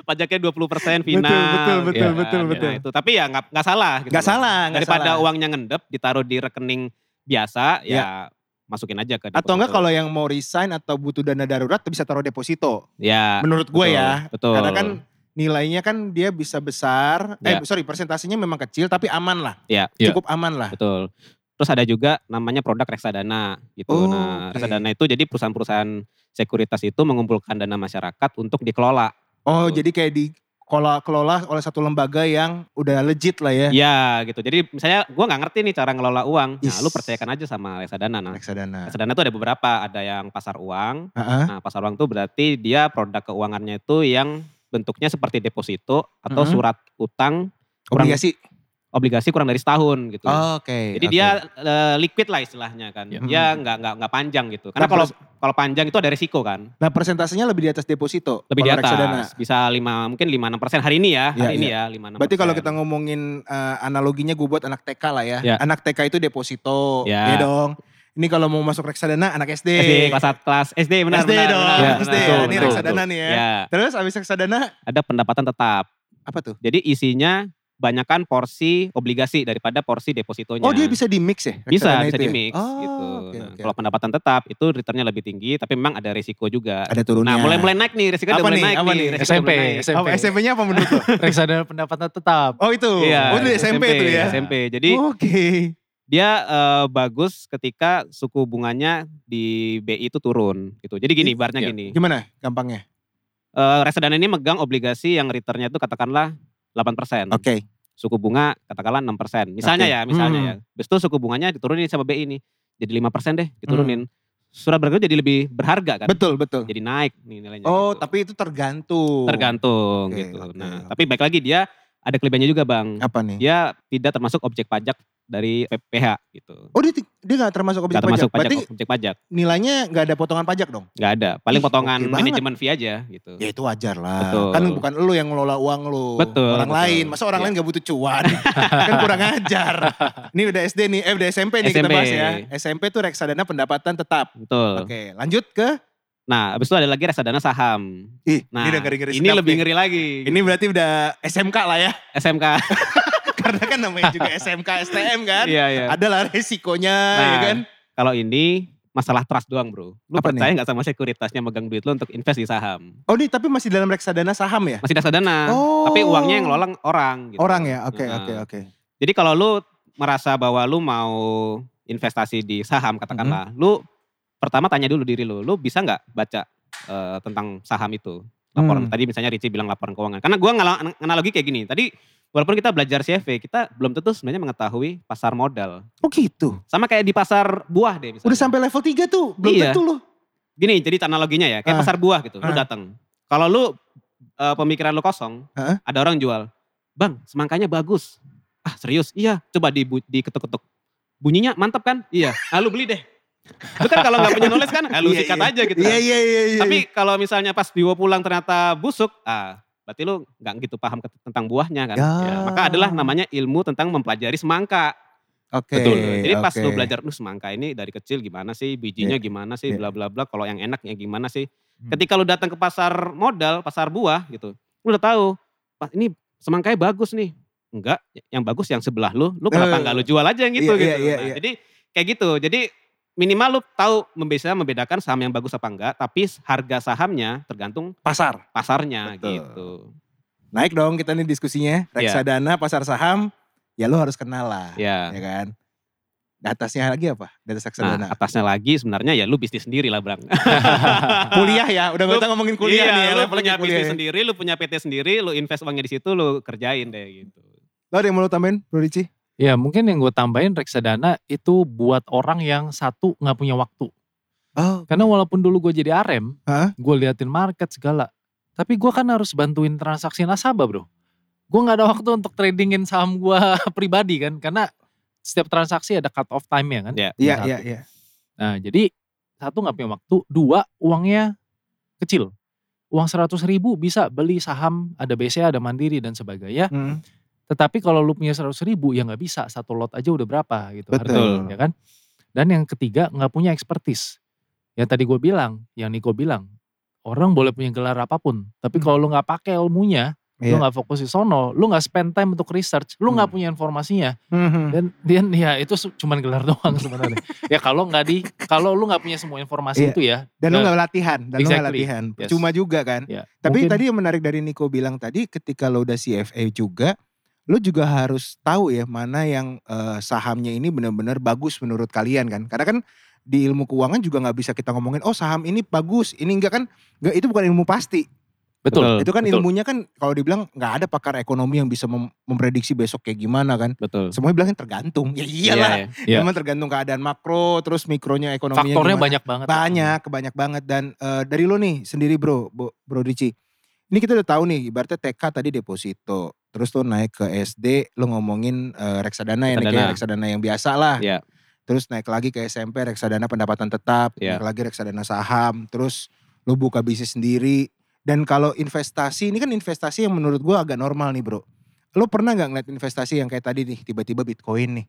S2: pajaknya 20 persen final
S1: betul, betul,
S2: gitu
S1: betul,
S2: kan.
S1: betul.
S2: Nah, itu tapi ya nggak nggak salah gitu
S1: Gak
S2: loh.
S1: salah, gak
S2: daripada
S1: salah. Iya.
S2: uangnya ngendep ditaruh di rekening biasa ya, masukin aja ke gitu.
S1: Atau enggak
S2: deposito.
S1: kalau yang mau resign atau butuh dana darurat bisa taruh deposito.
S2: ya
S1: Menurut gue
S2: betul,
S1: ya.
S2: betul
S1: Karena kan nilainya kan dia bisa besar.
S2: Ya.
S1: Eh sorry, persentasenya memang kecil tapi aman lah.
S2: ya
S4: Ya.
S1: Cukup aman lah.
S2: Betul. Terus ada juga namanya produk reksadana
S1: Oh,
S2: gitu. nah,
S1: oke.
S2: reksadana itu jadi perusahaan-perusahaan sekuritas itu mengumpulkan dana masyarakat untuk dikelola.
S1: Oh
S2: Betul.
S1: jadi kayak di kelola, kelola oleh satu lembaga yang udah legit lah ya.
S2: Ya gitu. Jadi misalnya gua nggak ngerti nih cara ngelola uang. Nah,
S1: Yes.
S2: lu percayakan aja sama reksadana. Nah,
S1: Reksadana.
S2: reksadana itu ada beberapa, ada yang pasar uang.
S1: Heeh.
S2: Nah, pasar uang itu berarti dia produk keuangannya itu yang bentuknya seperti deposito atau
S1: Mhm.
S2: surat utang kurang
S1: Obligasi.
S2: obligasi kurang dari setahun gitu.
S1: Oh, Oke. mm-hmm.
S2: Jadi dia eh, liquid lah istilahnya kan.
S4: Ya.
S2: Dia nggak nggak nggak panjang gitu. Karena
S1: Nah,
S2: kalau kalau panjang itu ada resiko kan.
S1: Nah persentasenya lebih di atas deposito.
S2: lebih di
S1: kalau
S2: atas gitu,
S1: Reksadana.
S2: bisa lima mungkin lima enam persen hari ini ya
S1: Iya,
S2: hari ini ya lima enam
S1: Berarti kalau kita ngomongin eh, analoginya gue buat anak TK lah ya.
S2: Ya.
S1: Anak TK itu deposito,
S2: Ya.
S1: ya dong. Ini kalau mau masuk reksadana anak SD.
S2: SD kelas sat- kelas SD benar
S1: SD
S2: benar,
S1: dong,
S2: benar,
S1: SD.
S2: benar,
S4: Ini
S2: Ya, betul,
S1: reksadana
S2: betul.
S1: nih ya.
S2: ya
S1: Terus abis reksadana
S2: ada pendapatan tetap
S1: apa tuh?
S2: jadi isinya banyakkan porsi obligasi daripada porsi depositonya.
S1: Oh dia bisa di mix ya?
S2: bisa
S1: reksadana
S2: bisa
S1: itu ya?
S2: di mix
S1: Oh,
S2: gitu.
S1: oke,
S2: Nah,
S1: oke.
S2: Kalau pendapatan tetap itu returnnya lebih tinggi, tapi memang ada risiko juga.
S1: Ada turunnya. Oh,
S2: Nah mulai mulai naik nih risiko
S1: Apa
S2: udah mulai
S1: nih?
S2: naik
S1: Apa nih?
S2: nih. risiko udah
S4: SMP,
S2: mulai naik.
S4: SMP.
S1: Apa SMP-nya apa menurut lo?
S4: reksadana pendapatan tetap.
S1: Oh itu.
S2: Iya,
S1: oh itu di SMP, itu ya.
S2: SMP. Jadi
S1: Oke.
S2: dia eh, bagus ketika suku bunganya di BI itu turun gitu. Jadi gini, barnya
S4: Iya.
S2: gini.
S1: Gimana gampangnya?
S2: Eh reksadana ini megang obligasi yang returnnya itu katakanlah 8%.
S1: Oke.
S2: Suku bunga katakanlah 6%. Misalnya
S1: Oke.
S2: ya, misalnya
S4: Hmm.
S2: ya. Habis itu suku bunganya diturunin sama BI ini. Jadi 5% deh
S1: Hmm.
S2: diturunin. Surat berharga jadi lebih berharga kan.
S1: Betul betul.
S2: Jadi naik nih nilainya.
S1: Oh
S2: gitu.
S1: tapi itu tergantung.
S2: tergantung
S1: Oke,
S2: gitu.
S1: oke.
S2: Nah, tapi baik lagi dia ada kelebihannya juga, Bang.
S1: Apa nih?
S2: Dia tidak termasuk objek pajak dari PPH gitu.
S1: Oh dia ti- dia nggak termasuk objek
S2: Gak termasuk
S1: pajak. Berarti
S2: pajak, objek pajak.
S1: nilainya nggak ada potongan pajak dong?
S2: Gak ada.
S1: Ih,
S2: Paling potongan
S1: oke banget.
S2: manajemen fee aja gitu.
S1: Ya itu wajar lah.
S2: Betul.
S1: Kan bukan lu yang ngelola uang lu.
S2: Betul,
S1: Orang
S2: betul.
S1: lain. Masa orang
S2: Iya.
S1: lain gak butuh cuan? kan kurang ajar. Ini udah SD nih. Eh udah SMP nih kita
S2: SMP.
S1: bahas ya. SMP tuh reksadana pendapatan tetap.
S2: Betul.
S1: Oke lanjut ke.
S2: Nah, habis itu ada lagi reksadana saham.
S1: Ih,
S2: Nah,
S1: ini udah ngeri-ngeri
S2: ini
S1: sedap
S2: lebih
S1: nih.
S2: ngeri lagi.
S1: Ini berarti udah SMK lah ya.
S2: SMK.
S1: Karena kan namanya juga SMK, STM kan.
S2: Iya, iya.
S1: Adalah resikonya ya
S2: Nah,
S1: kan.
S2: Kalau ini masalah trust doang, Bro. Lu
S1: Apa
S2: percaya nggak sama sekuritasnya megang duit lu untuk invest di saham?
S1: Oh ini tapi masih dalam reksadana saham ya?
S2: Masih reksadana.
S1: Oh.
S2: Tapi uangnya yang ngelola orang gitu.
S1: Orang ya? Oke,
S2: Nah.
S1: oke, oke.
S2: Jadi kalau lu merasa bahwa lu mau investasi di saham katakanlah, lu pertama tanya dulu diri lu, lu bisa nggak baca eh, tentang saham itu? Laporan
S4: Hmm.
S2: tadi misalnya Ricci bilang laporan keuangan. Karena gua ngala- analogi kayak gini. Tadi walaupun kita belajar CFA, kita belum tentu sebenarnya mengetahui pasar modal.
S1: Oh gitu.
S2: Sama kayak di pasar buah deh misalnya.
S1: Udah sampai level 3 tuh. Belum
S2: Iya.
S1: tentu lu.
S2: Gini, jadi analoginya ya, kayak
S1: Ah.
S2: pasar buah gitu. Lu
S1: Ah.
S2: datang. Kalau lu eh, pemikiran lu kosong,
S1: Heeh.
S2: ada orang jual. Bang, semangkanya bagus. Ah, serius? Iya, coba di diketuk-ketuk. Bunyinya mantap kan? Iya. Ah, lu beli deh. Lu kan kalau nggak punya knowledge kan, ah, lu
S1: Iya,
S2: sikat
S1: iya.
S2: aja gitu.
S1: Iya,
S2: kan.
S1: iya, iya. iya.
S2: Tapi kalau misalnya pas diwo pulang ternyata busuk, ah berarti lu nggak gitu paham ke- tentang buahnya kan.
S1: Ya.
S2: maka adalah namanya ilmu tentang mempelajari semangka.
S1: Oke.
S2: Betul. Jadi pas lu
S1: oke.
S2: belajar lu semangka ini dari kecil gimana sih, bijinya gimana
S1: Iya.
S2: sih, bla bla bla, kalau yang enaknya gimana sih.
S4: Hmm.
S2: Ketika lu datang ke pasar modal, pasar buah gitu, lu udah tahu, "Pak, ini semangkanya bagus nih. Enggak, yang bagus yang sebelah lu, lu kenapa
S1: Eh.
S2: enggak lu jual aja yang gitu
S1: Iya, iya,
S2: gitu.
S1: iya,
S2: Nah,
S1: iya.
S2: Jadi kayak gitu. Jadi minimal lu tahu membisa membedakan saham yang bagus apa enggak, tapi harga sahamnya tergantung
S1: pasar.
S2: pasarnya
S1: Betul.
S2: gitu.
S1: Naik dong kita nih diskusinya.
S2: Iya.
S1: Reksadana, pasar saham, ya lu harus kenal lah.
S2: Ya.
S1: Ya kan? Di atasnya lagi apa? Di atas
S2: Nah,
S1: reksadana.
S2: atasnya lagi sebenarnya ya lu bisnis sendiri lah, Bang.
S1: kuliah ya, udah gak
S2: Lu-
S1: usah ngomongin kuliah
S2: iya,
S1: nih ya.
S2: lu
S1: levelnya
S2: punya
S1: ke kuliah
S2: bisnis
S1: ya.
S2: sendiri, lu punya PT sendiri, lu invest uangnya di situ, lu kerjain deh gitu.
S1: Lo ada yang mau lo tambahin Bro Ricci?
S4: Ya mungkin yang gue tambahin reksadana itu buat orang yang satu nggak punya waktu.
S1: Oh.
S4: Karena walaupun dulu gue jadi RM,
S1: Hah?
S4: gue liatin market segala. Tapi gue kan harus bantuin transaksi nasabah bro. Gue nggak ada waktu untuk tradingin saham gue pribadi kan. Karena setiap transaksi ada cut off time ya kan.
S2: Ya.
S1: Iya,
S4: Satu.
S1: iya, iya.
S4: Nah jadi satu nggak punya waktu, dua uangnya kecil. Uang 100 ribu bisa beli saham, ada BCA, ada Mandiri dan sebagainya.
S1: Hmm.
S4: Tetapi kalau lu punya 100 ribu ya nggak bisa satu lot aja udah berapa gitu
S1: Betul.
S4: harganya, ya kan? Dan yang ketiga nggak punya expertise. Yang tadi gue bilang, yang Niko bilang, orang boleh punya gelar apapun, tapi kalau lu nggak pakai ilmunya,
S1: Hmm. Iya.
S4: lu nggak fokus di sono, lu nggak spend time untuk research, lu nggak
S1: Hmm.
S4: punya informasinya,
S1: Mhm.
S4: dan dan ya itu su- cuman gelar doang sebenarnya. ya kalau nggak di, kalau lu nggak punya semua informasi
S1: Iya.
S4: itu ya.
S1: Dan lo
S4: Nah,
S1: gak latihan, dan lo gak
S4: exactly.
S1: latihan.
S4: Yes.
S1: Cuma juga kan.
S4: ya
S1: Tapi
S4: mungkin-
S1: tadi yang menarik dari Niko bilang tadi ketika lo udah CFA juga, lo juga harus tahu ya mana yang eh, sahamnya ini benar-benar bagus menurut kalian kan. Karena kan di ilmu keuangan juga nggak bisa kita ngomongin oh saham ini bagus, ini enggak kan. Enggak itu bukan ilmu pasti.
S4: betul.
S2: Betul.
S1: itu kan
S4: betul.
S1: ilmunya kan kalau dibilang nggak ada pakar ekonomi yang bisa mem- memprediksi besok kayak gimana kan.
S2: Betul.
S1: Semuanya bilangnya tergantung. Ya iyalah.
S2: Iya,
S4: Iya.
S1: Memang tergantung keadaan makro, terus mikronya ekonominya
S4: Faktornya
S1: gimana
S4: banyak banget.
S1: banyak banyak banget dan eh, dari lo nih sendiri bro Bo- bro Ricci ini kita udah tahu nih ibaratnya TK tadi deposito terus lo naik ke SD lo ngomongin eh, reksadana ya
S2: Reksadana.
S1: kayak reksadana yang biasa lah
S2: Iya.
S1: terus naik lagi ke SMP reksadana pendapatan tetap
S2: Iya.
S1: naik lagi reksadana saham terus lo buka bisnis sendiri dan kalau investasi ini kan investasi yang menurut gua agak normal nih bro lo pernah nggak ngeliat investasi yang kayak tadi nih tiba-tiba bitcoin nih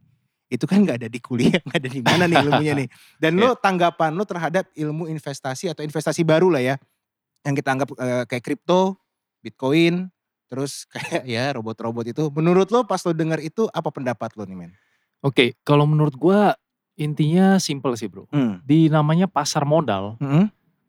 S1: itu kan nggak ada di kuliah nggak ada di mana nih ilmunya nih dan
S2: Iya.
S1: lo tanggapan lo terhadap ilmu investasi atau investasi baru lah ya yang kita anggap eh, kayak kripto bitcoin Terus kayak ya robot-robot itu. Menurut lo pas lo denger itu apa pendapat lo nih men?
S4: Oke, kalau menurut gua intinya simple sih bro.
S1: Hmm.
S4: Di namanya pasar modal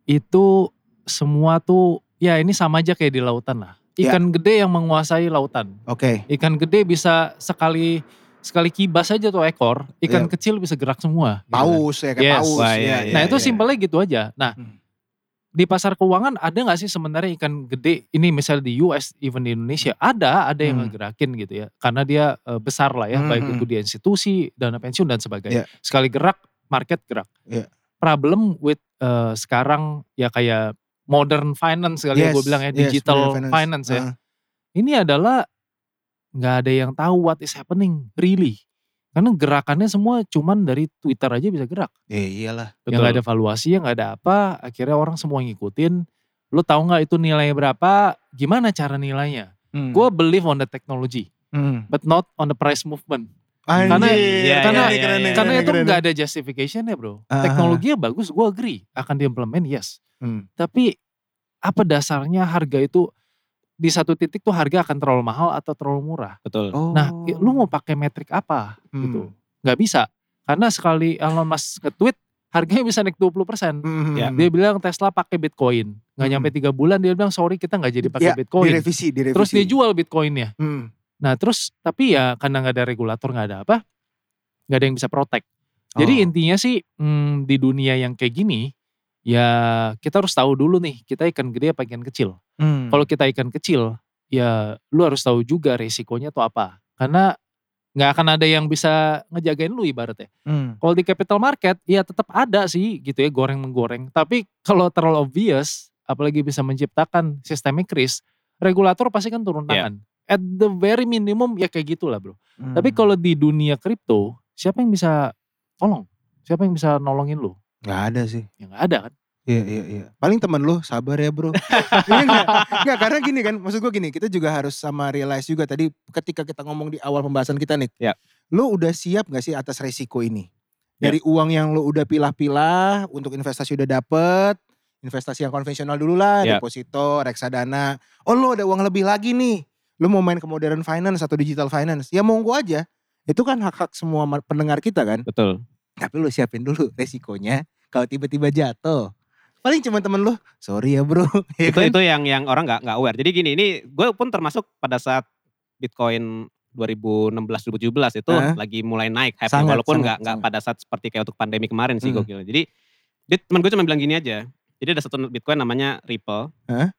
S4: itu semua tuh ya ini sama aja kayak di lautan lah.
S1: Ya.
S4: Ikan gede yang menguasai lautan.
S1: Oke.
S4: Ikan gede bisa sekali sekali kibas aja tuh ekor. Ikan kecil bisa gerak semua. gitu kan.
S1: Paus ya kayak
S4: Yes.
S1: paus. ya,
S2: Wah, iya,
S1: ya,
S4: Nah itu
S1: ya.
S4: simpelnya gitu aja. Nah
S1: Hmm.
S4: di pasar keuangan ada nggak sih sebenarnya ikan gede ini misalnya di US even di Indonesia ada ada yang
S1: Hmm.
S4: ngegerakin gitu ya karena dia eh, besar lah ya
S1: Hmm,
S4: baik
S1: hmm.
S4: itu di institusi dana pensiun dan
S1: Iya.
S4: sebagainya. Sekali gerak market gerak.
S1: Iya.
S4: Problem with eh, sekarang ya kayak modern finance kali ya
S1: Yes,
S4: gue bilang ya
S1: yes,
S4: digital
S1: modern
S4: finance.
S1: finance. Uh-huh.
S4: ya. Ini adalah nggak ada yang tahu what is happening really karena gerakannya semua cuman dari Twitter aja bisa gerak
S1: Ya iyalah.
S4: yang nggak ada valuasi, yang nggak ada apa, akhirnya orang semua ngikutin. Lu tahu nggak itu nilainya berapa? Gimana cara nilainya?
S1: Hmm.
S4: Gue believe on the technology,
S1: Hmm.
S4: but not on the price movement.
S1: Anjir,
S4: Karena-
S1: keren
S2: iya,
S4: iya,
S1: nih,
S2: iya,
S1: keren nih,
S2: iya.
S1: keren
S4: Karena
S1: nih,
S4: itu
S1: keren
S4: nggak
S1: nih.
S4: ada justification ya bro.
S1: Ah.
S4: Teknologinya bagus, gue agree akan diimplement yes.
S1: Hmm.
S4: Tapi apa dasarnya harga itu di satu titik tuh harga akan terlalu mahal atau terlalu murah.
S2: Betul.
S1: Oh.
S4: Nah, lu mau pakai metrik apa
S1: Hmm.
S4: gitu? Nggak bisa. Karena sekali Elon Musk nge-tweet, harganya bisa naik 20%.
S1: Hmm.
S2: Ya,
S4: Dia bilang Tesla pakai Bitcoin. Nggak
S1: Hmm.
S4: nyampe tiga bulan dia bilang sorry kita nggak jadi pakai
S1: Ya,
S4: Bitcoin.
S1: direvisi, direvisi.
S4: Terus dia jual Bitcoinnya.
S1: Hmm.
S4: Nah terus tapi ya karena nggak ada regulator nggak ada apa, nggak ada yang bisa protek.
S1: Oh.
S4: Jadi intinya sih hmm, di dunia yang kayak gini ya kita harus tahu dulu nih kita ikan gede apa ikan kecil.
S1: Hmm.
S4: Kalau kita ikan kecil ya lu harus tahu juga resikonya tuh apa. Karena nggak akan ada yang bisa ngejagain lu ibaratnya.
S1: Hmm.
S4: Kalau di capital market ya tetap ada sih gitu ya goreng menggoreng. Tapi kalau terlalu obvious, apalagi bisa menciptakan sistemik risk, regulator pasti kan turun
S2: Iya.
S4: tangan. At the very minimum ya kayak gitulah bro.
S1: Hmm.
S4: Tapi kalau di dunia kripto, siapa yang bisa tolong? Siapa yang bisa nolongin lu?
S1: nggak ada sih.
S4: Ya nggak ada kan?
S1: Iya iya iya. Paling teman lu sabar ya bro. Iya nggak? Nggak, karena gini kan, maksud gue gini, kita juga harus sama realize juga tadi ketika kita ngomong di awal pembahasan kita nih.
S2: Ya.
S1: Lu udah siap gak sih atas resiko ini?
S2: Ya.
S1: Dari uang yang lu udah pilah-pilah, untuk investasi udah dapet, investasi yang konvensional dulu lah,
S2: Ya.
S1: deposito, reksadana. Oh lu ada uang lebih lagi nih, lu mau main ke modern finance atau digital finance, ya monggo aja. Itu kan hak-hak semua mar- pendengar kita kan.
S2: Betul.
S1: Tapi lu siapin dulu resikonya kalau tiba-tiba jatuh. Paling cuma temen lu, sorry ya bro. Ya
S2: itu
S1: kan?
S2: itu yang yang orang nggak nggak aware. Jadi gini, ini gue pun termasuk pada saat Bitcoin 2016-2017 itu
S1: Heeh.
S2: lagi mulai naik hype
S1: Sangat,
S2: walaupun
S1: sangat,
S2: nggak nggak
S1: sangat.
S2: pada saat seperti kayak untuk pandemi kemarin sih
S1: Hmm.
S2: gokil. Jadi dia, temen gue cuma bilang gini aja. Jadi ada satu Bitcoin namanya Ripple.
S1: Heeh.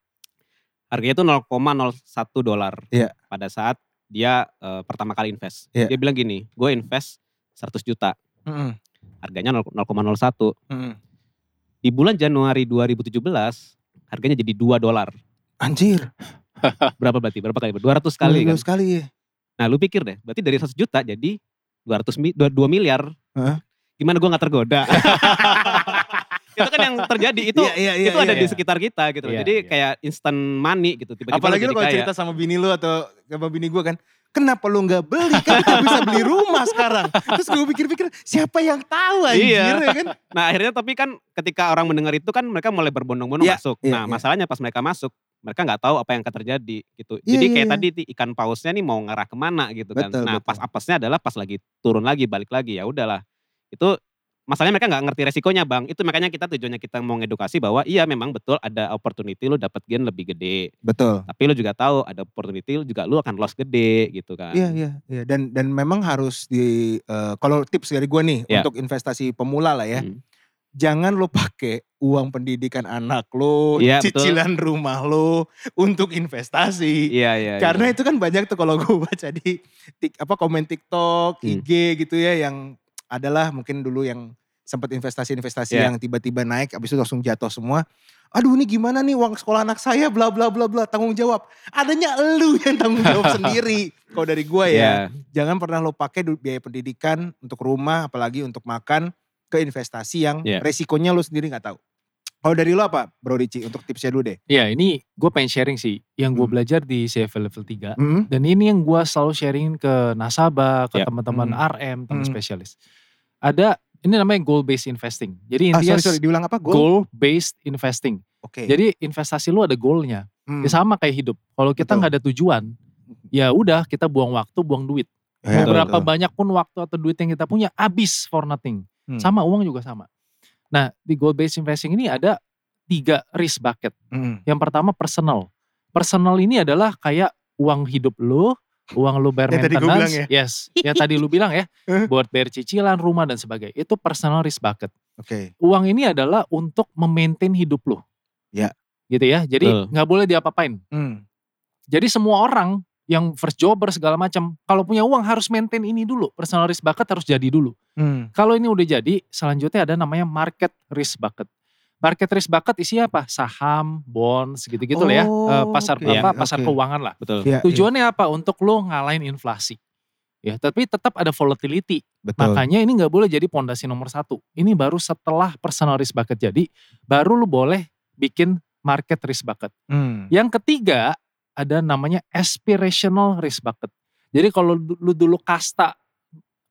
S2: Harganya itu 0,01 dolar.
S1: Iya.
S2: Pada saat dia eh, pertama kali invest.
S1: Iya.
S2: Dia bilang gini, gue invest 100 juta.
S1: Mm-mm,
S2: Harganya 0,01.
S1: mm-mm.
S2: Di bulan Januari 2017 harganya jadi 2 dolar.
S1: Anjir,
S2: Berapa berarti? Berapa kali? 200 kali kan?
S1: Gila sekali ya.
S2: Nah lu pikir deh, berarti dari 100 juta jadi 200 mi, 2, miliar.
S1: Hah?
S2: Gimana gua gak tergoda? itu kan yang terjadi, itu
S1: Iya, iya, iya,
S2: itu ada
S1: iya,
S2: di
S1: iya.
S2: sekitar kita gitu.
S4: Iya,
S2: jadi
S4: iya.
S2: kayak instant money gitu. Tiba-tiba
S1: Apalagi lu
S2: jadi
S1: kalau
S2: kaya.
S1: cerita sama bini lu atau sama bini gue kan, kenapa lu gak beli? Kan kita bisa beli rumah sekarang. Terus gue pikir-pikir, siapa yang tahu anjir
S2: Iya.
S1: ya kan?
S2: Nah akhirnya tapi kan ketika orang mendengar itu kan mereka mulai berbondong-bondong
S1: Iya,
S2: masuk.
S1: iya,
S2: nah
S1: iya.
S2: masalahnya pas mereka masuk, mereka nggak tahu apa yang akan terjadi gitu.
S1: Iya,
S2: Jadi
S1: iya,
S2: kayak
S1: iya.
S2: tadi ti- ikan pausnya nih mau ngarah kemana gitu kan.
S1: Betul,
S2: nah
S1: betul.
S2: pas apesnya adalah pas lagi turun lagi balik lagi ya udahlah. Itu masalahnya mereka nggak ngerti resikonya bang. Itu makanya kita tujuannya kita mau ngedukasi bahwa iya memang betul ada opportunity lu dapat gain lebih gede.
S1: Betul.
S2: Tapi lu juga tahu ada opportunity lu juga lu akan loss gede gitu kan.
S1: Iya iya iya dan dan memang harus di eh, kalau tips dari gue nih
S2: Iya.
S1: untuk investasi pemula lah ya.
S2: Hmm.
S1: Jangan lo pakai uang pendidikan anak lo,
S2: Iya, betul.
S1: cicilan rumah lo untuk investasi.
S2: Iya iya.
S1: Karena
S2: iya.
S1: itu kan banyak tuh kalau gue baca di tik, apa komen TikTok,
S2: Hmm.
S1: IG gitu ya yang adalah mungkin dulu yang sempat investasi-investasi
S2: Iya.
S1: yang tiba-tiba naik abis itu langsung jatuh semua. Aduh ini gimana nih uang sekolah anak saya bla bla bla bla tanggung jawab. Adanya lu yang tanggung jawab sendiri. Kalau dari gue ya
S2: Iya.
S1: jangan pernah lo pakai du- biaya pendidikan untuk rumah apalagi untuk makan ke investasi yang
S2: Iya.
S1: resikonya lo sendiri nggak tahu. Kalau dari lo apa Bro Ricci untuk tipsnya dulu deh.
S4: Ya ini gue pengen sharing sih yang gue
S1: Hmm.
S4: belajar di CFA level 3.
S1: Hmm?
S4: Dan ini yang gue selalu sharingin ke nasabah, ke
S2: Ya.
S4: teman-teman
S1: Hmm.
S4: RM, teman
S1: Hmm.
S4: spesialis. Ada ini namanya goal based investing. Jadi
S1: Ah
S4: intinya
S1: sorry sorry diulang apa? Goal?
S4: goal based investing.
S1: Oke.
S4: Jadi investasi lu ada goalnya.
S1: Hmm.
S4: Ya sama kayak hidup. Kalau
S1: Betul.
S4: kita nggak ada tujuan, ya udah kita buang waktu, buang duit.
S1: Ya,
S4: Mau berapa
S1: betul.
S4: banyak pun waktu atau duit yang kita punya habis for nothing.
S1: Hmm.
S4: Sama uang juga sama. Nah di goal based investing ini ada tiga risk bucket.
S1: Hmm.
S4: Yang pertama personal. Personal ini adalah kayak uang hidup lu, uang lu bayar
S1: Yang tadi gua
S4: maintenance.
S1: bilang ya.
S4: Yes, yang tadi lu bilang ya. Buat bayar cicilan, rumah dan sebagainya. Itu personal risk bucket.
S1: Oke.
S4: Uang ini adalah untuk memaintain hidup lu.
S1: Ya.
S4: Gitu ya. Jadi
S2: Betul.
S4: nggak boleh diapa-apain.
S1: Hmm.
S4: Jadi semua orang yang first jobber segala macam, kalau punya uang harus maintain ini dulu. Personal risk bucket harus jadi dulu.
S1: Hmm.
S4: Kalau ini udah jadi, selanjutnya ada namanya market risk bucket. Market risk bucket isinya apa? Saham, bonds, gitu-gitu lah ya.
S1: Oh,
S4: Eh, pasar
S1: oke,
S4: apa?
S1: oke.
S4: Pasar keuangan lah.
S1: Iya,
S2: betul.
S1: iya.
S4: Tujuannya apa? Untuk lo ngalahin inflasi. Ya, tapi tetap ada volatility.
S1: betul.
S4: Makanya ini nggak boleh jadi pondasi nomor satu. Ini baru setelah personal risk bucket jadi, baru lo boleh bikin market risk bucket.
S1: Hmm.
S4: Yang ketiga ada namanya aspirational risk bucket. Jadi kalau du- lu dulu kasta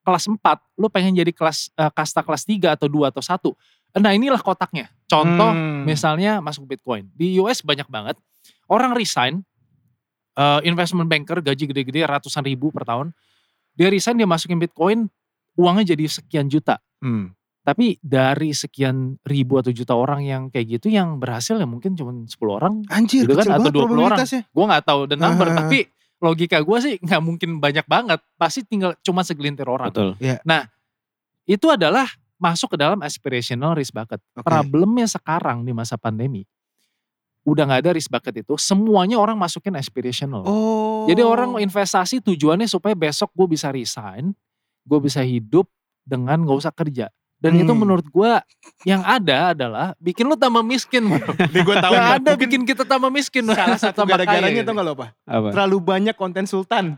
S4: kelas 4, lu pengen jadi kelas eh, kasta kelas 3 atau 2 atau 1. Nah, inilah kotaknya. Contoh
S1: Hmm.
S4: misalnya masuk Bitcoin. Di US banyak banget orang resign eh, investment banker gaji gede-gede ratusan ribu per tahun. Dia resign dia masukin Bitcoin, uangnya jadi sekian juta.
S1: Hmm.
S4: Tapi dari sekian ribu atau juta orang yang kayak gitu yang berhasil ya mungkin cuma 10 orang
S1: Anjir,
S4: Gitu kan,
S1: kecil
S4: atau
S1: banget
S4: 20 orang.
S1: probabilitasnya.
S4: gue nggak tahu the number
S1: Ah.
S4: tapi logika gue sih nggak mungkin banyak banget pasti tinggal cuma segelintir orang
S2: Betul.
S4: itu adalah masuk ke dalam aspirational risk bucket
S1: Oke.
S4: problemnya sekarang di masa pandemi udah nggak ada risk bucket itu semuanya orang masukin aspirational
S1: Oh.
S4: jadi orang investasi tujuannya supaya besok gue bisa resign gue bisa hidup dengan nggak usah kerja dan itu
S1: Hmm.
S4: menurut gue yang ada adalah bikin lu tambah miskin. Bro.
S1: Ini gue tahu
S4: Nggak
S1: nih,
S4: ada
S1: mungkin
S4: bikin kita tambah miskin.
S1: salah satu
S4: tambah kaya
S1: gara-garanya
S4: gitu.
S1: tau gak lo apa?
S2: Apa?
S1: Terlalu banyak konten Sultan.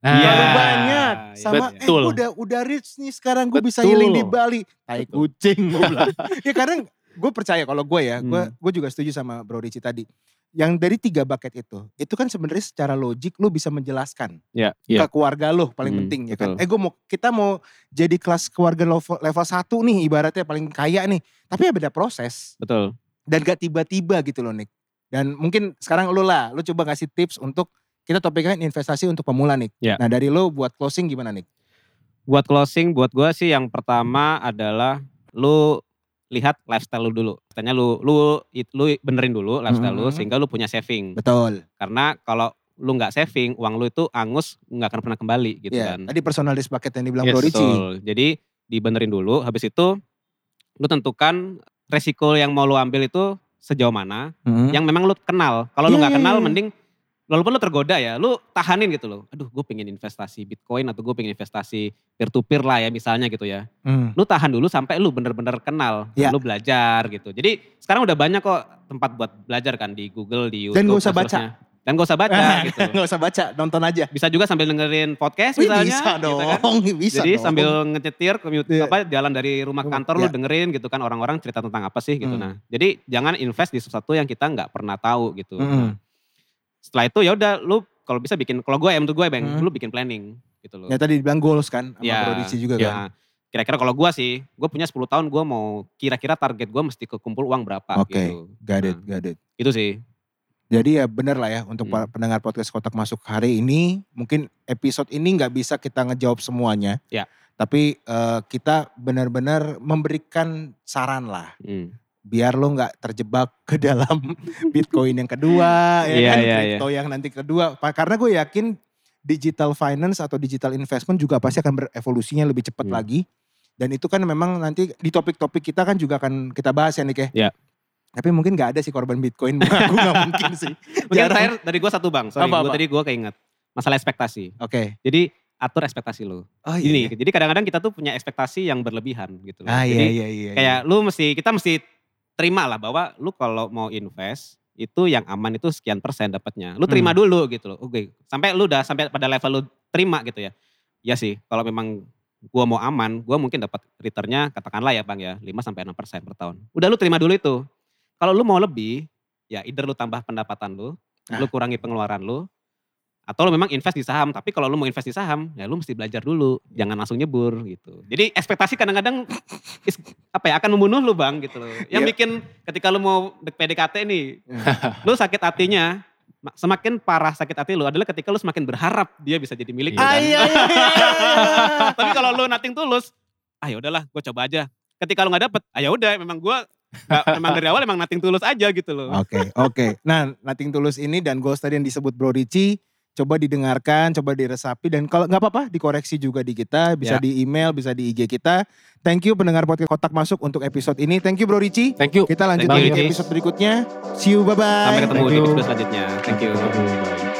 S4: Nah,
S1: Terlalu
S2: Iya.
S1: banyak.
S2: Iya,
S1: Sama eh
S4: betul.
S1: gua udah, udah rich nih sekarang gue bisa
S4: Betul.
S1: healing di Bali. Tai
S4: Betul.
S2: gitu.
S1: kucing gue bilang. ya kadang gue percaya kalau gue ya, gue
S2: Hmm.
S1: gue juga setuju sama Bro Ricci tadi. Yang dari tiga bucket itu, itu kan sebenarnya secara logik lu bisa menjelaskan
S2: Iya, iya.
S1: ke keluarga lo paling
S2: Hmm,
S1: penting ya kan.
S2: betul.
S1: Eh gue mau kita mau jadi kelas keluarga level, level 1 nih ibaratnya paling kaya nih. Tapi ya beda proses
S2: Betul.
S1: dan gak tiba-tiba gitu loh Nick. Dan mungkin sekarang lu lah, lu coba ngasih tips untuk kita topiknya kan investasi untuk pemula Nick.
S2: Iya.
S1: Nah dari lu buat closing gimana Nick?
S2: Buat closing, buat gue sih yang pertama adalah lu lihat lifestyle lu dulu. Tanya lu, lu, lu benerin dulu lifestyle lu
S1: Mhm.
S2: sehingga lu punya saving.
S1: Betul.
S2: Karena kalau lu nggak saving, uang lu itu angus nggak akan pernah kembali gitu
S1: Iya,
S2: kan.
S1: Tadi personalis paket yang dibilang
S4: Yes,
S1: Bro Ricci.
S2: Betul. Jadi dibenerin dulu, habis itu lu tentukan resiko yang mau lu ambil itu sejauh mana,
S1: Mhm.
S2: yang memang lu kenal. Kalau lu
S1: Iya,
S2: nggak
S1: iya,
S2: kenal,
S1: iya.
S2: mending walaupun lu tergoda ya, lu tahanin gitu loh. Aduh, gue pengen investasi Bitcoin atau gue pengen investasi peer to peer lah ya misalnya gitu ya.
S1: Hmm.
S2: Lu tahan dulu sampai lu bener-bener kenal,
S1: Iya.
S2: lu belajar gitu. Jadi sekarang udah banyak kok tempat buat belajar kan di Google, di YouTube.
S1: Dan nggak usah baca.
S2: seterusnya. Dan gak usah baca gitu.
S1: Nggak usah baca, nonton aja.
S2: Bisa juga sambil dengerin podcast
S1: Wih,
S2: misalnya.
S1: bisa
S2: gitu
S1: dong,
S2: kan.
S1: bisa
S2: Jadi
S1: dong.
S2: sambil ngecetir commute,
S1: Iya.
S2: apa jalan dari rumah ke
S1: Rumah,
S2: kantor lu
S1: iya.
S2: dengerin gitu kan orang-orang cerita tentang apa sih
S1: Hmm.
S2: gitu nah. Jadi jangan invest di sesuatu yang kita nggak pernah tahu gitu.
S1: Mhm.
S2: Nah, setelah itu ya udah lu kalau bisa bikin kalau gue ya menurut gue bang
S1: Hmm.
S2: lu bikin planning gitu loh.
S1: Ya tadi dibilang goals kan sama Bro
S2: Ya,
S1: Ricci juga kan.
S2: Nah, kira-kira kalau gue sih, gue punya 10 tahun gue mau kira-kira target gue mesti kekumpul uang berapa
S1: Oke.
S2: gitu.
S1: Got it,
S2: Nah.
S1: got it.
S2: Itu sih.
S1: Jadi ya benar lah ya untuk
S2: Hmm.
S1: para pendengar podcast Kotak Masuk hari ini mungkin episode ini nggak bisa kita ngejawab semuanya.
S2: Ya.
S1: Tapi eh, kita benar-benar memberikan saran lah
S2: Hmm.
S1: biar lo nggak terjebak ke dalam Bitcoin yang kedua, ya
S2: Iya,
S1: kan
S2: iya,
S1: kripto yang nanti kedua. Pa- Karena gue yakin digital finance atau digital investment juga pasti akan berevolusinya lebih cepat
S2: Hmm.
S1: lagi. Dan itu kan memang nanti di topik-topik kita kan juga akan kita bahas ya Nike.
S2: Iya.
S1: Tapi mungkin nggak ada sih korban Bitcoin, aku nggak mungkin sih.
S2: Mungkin
S1: Jarang.
S2: terakhir dari gue satu bang, sorry
S1: Apa,
S2: gue
S1: apa?
S2: tadi gue keinget. Masalah ekspektasi.
S1: Oke.
S2: Jadi atur ekspektasi lu.
S1: Oh
S2: Ini, jadi kadang-kadang kita tuh punya ekspektasi yang berlebihan gitu. loh.
S1: Ah iya
S2: jadi
S1: iya iya.
S2: kayak lu mesti kita mesti terima lah bahwa lu kalau mau invest itu yang aman itu sekian persen dapatnya. Lu terima
S1: Hmm.
S2: dulu gitu loh. Oke, sampai lu udah sampai pada level lu terima gitu ya. Ya sih, kalau memang gua mau aman, gua mungkin dapat returnnya katakanlah ya Bang ya, 5 sampai 6 persen per tahun. Udah lu terima dulu itu. Kalau lu mau lebih, ya either lu tambah pendapatan lu,
S1: Ah.
S2: lu
S4: Nah.
S2: kurangi pengeluaran lu, Atau lo memang invest di saham, tapi kalau lo mau invest di saham, ya lo mesti belajar dulu, jangan langsung nyebur gitu. Jadi ekspektasi kadang-kadang is- apa ya akan membunuh lo bang gitu loh. Yang
S1: Iya.
S2: bikin ketika lo mau dek- PDKT nih, lo sakit hatinya, ma- semakin parah sakit hati lo adalah ketika lo semakin berharap dia bisa jadi milik lo.
S1: Ah, iya,
S2: kan.
S1: iya, iya, iya.
S2: Tapi kalau lu nothing tulus, ah yaudahlah gue coba aja. Ketika lu gak dapet, ah yaudah memang gue, nggak- memang dari awal emang nothing tulus aja gitu loh.
S1: Oke, oke. Nah, Nothing Tulus ini dan goals tadi yang disebut Bro Ricci, coba didengarkan, coba diresapi dan kalau nggak apa-apa dikoreksi juga di kita, bisa
S2: Ya.
S1: di email, bisa di IG kita. Thank you pendengar podcast Kotak Masuk untuk episode ini. Thank you Bro Ricci.
S4: Thank you.
S1: Kita lanjut
S2: Thank
S1: lagi
S2: you,
S1: di
S2: Ricci.
S1: episode berikutnya. See you, bye-bye.
S2: Sampai ketemu
S4: Thank
S2: di
S4: you.
S2: episode selanjutnya. Thank you.
S4: Thank you. Bye.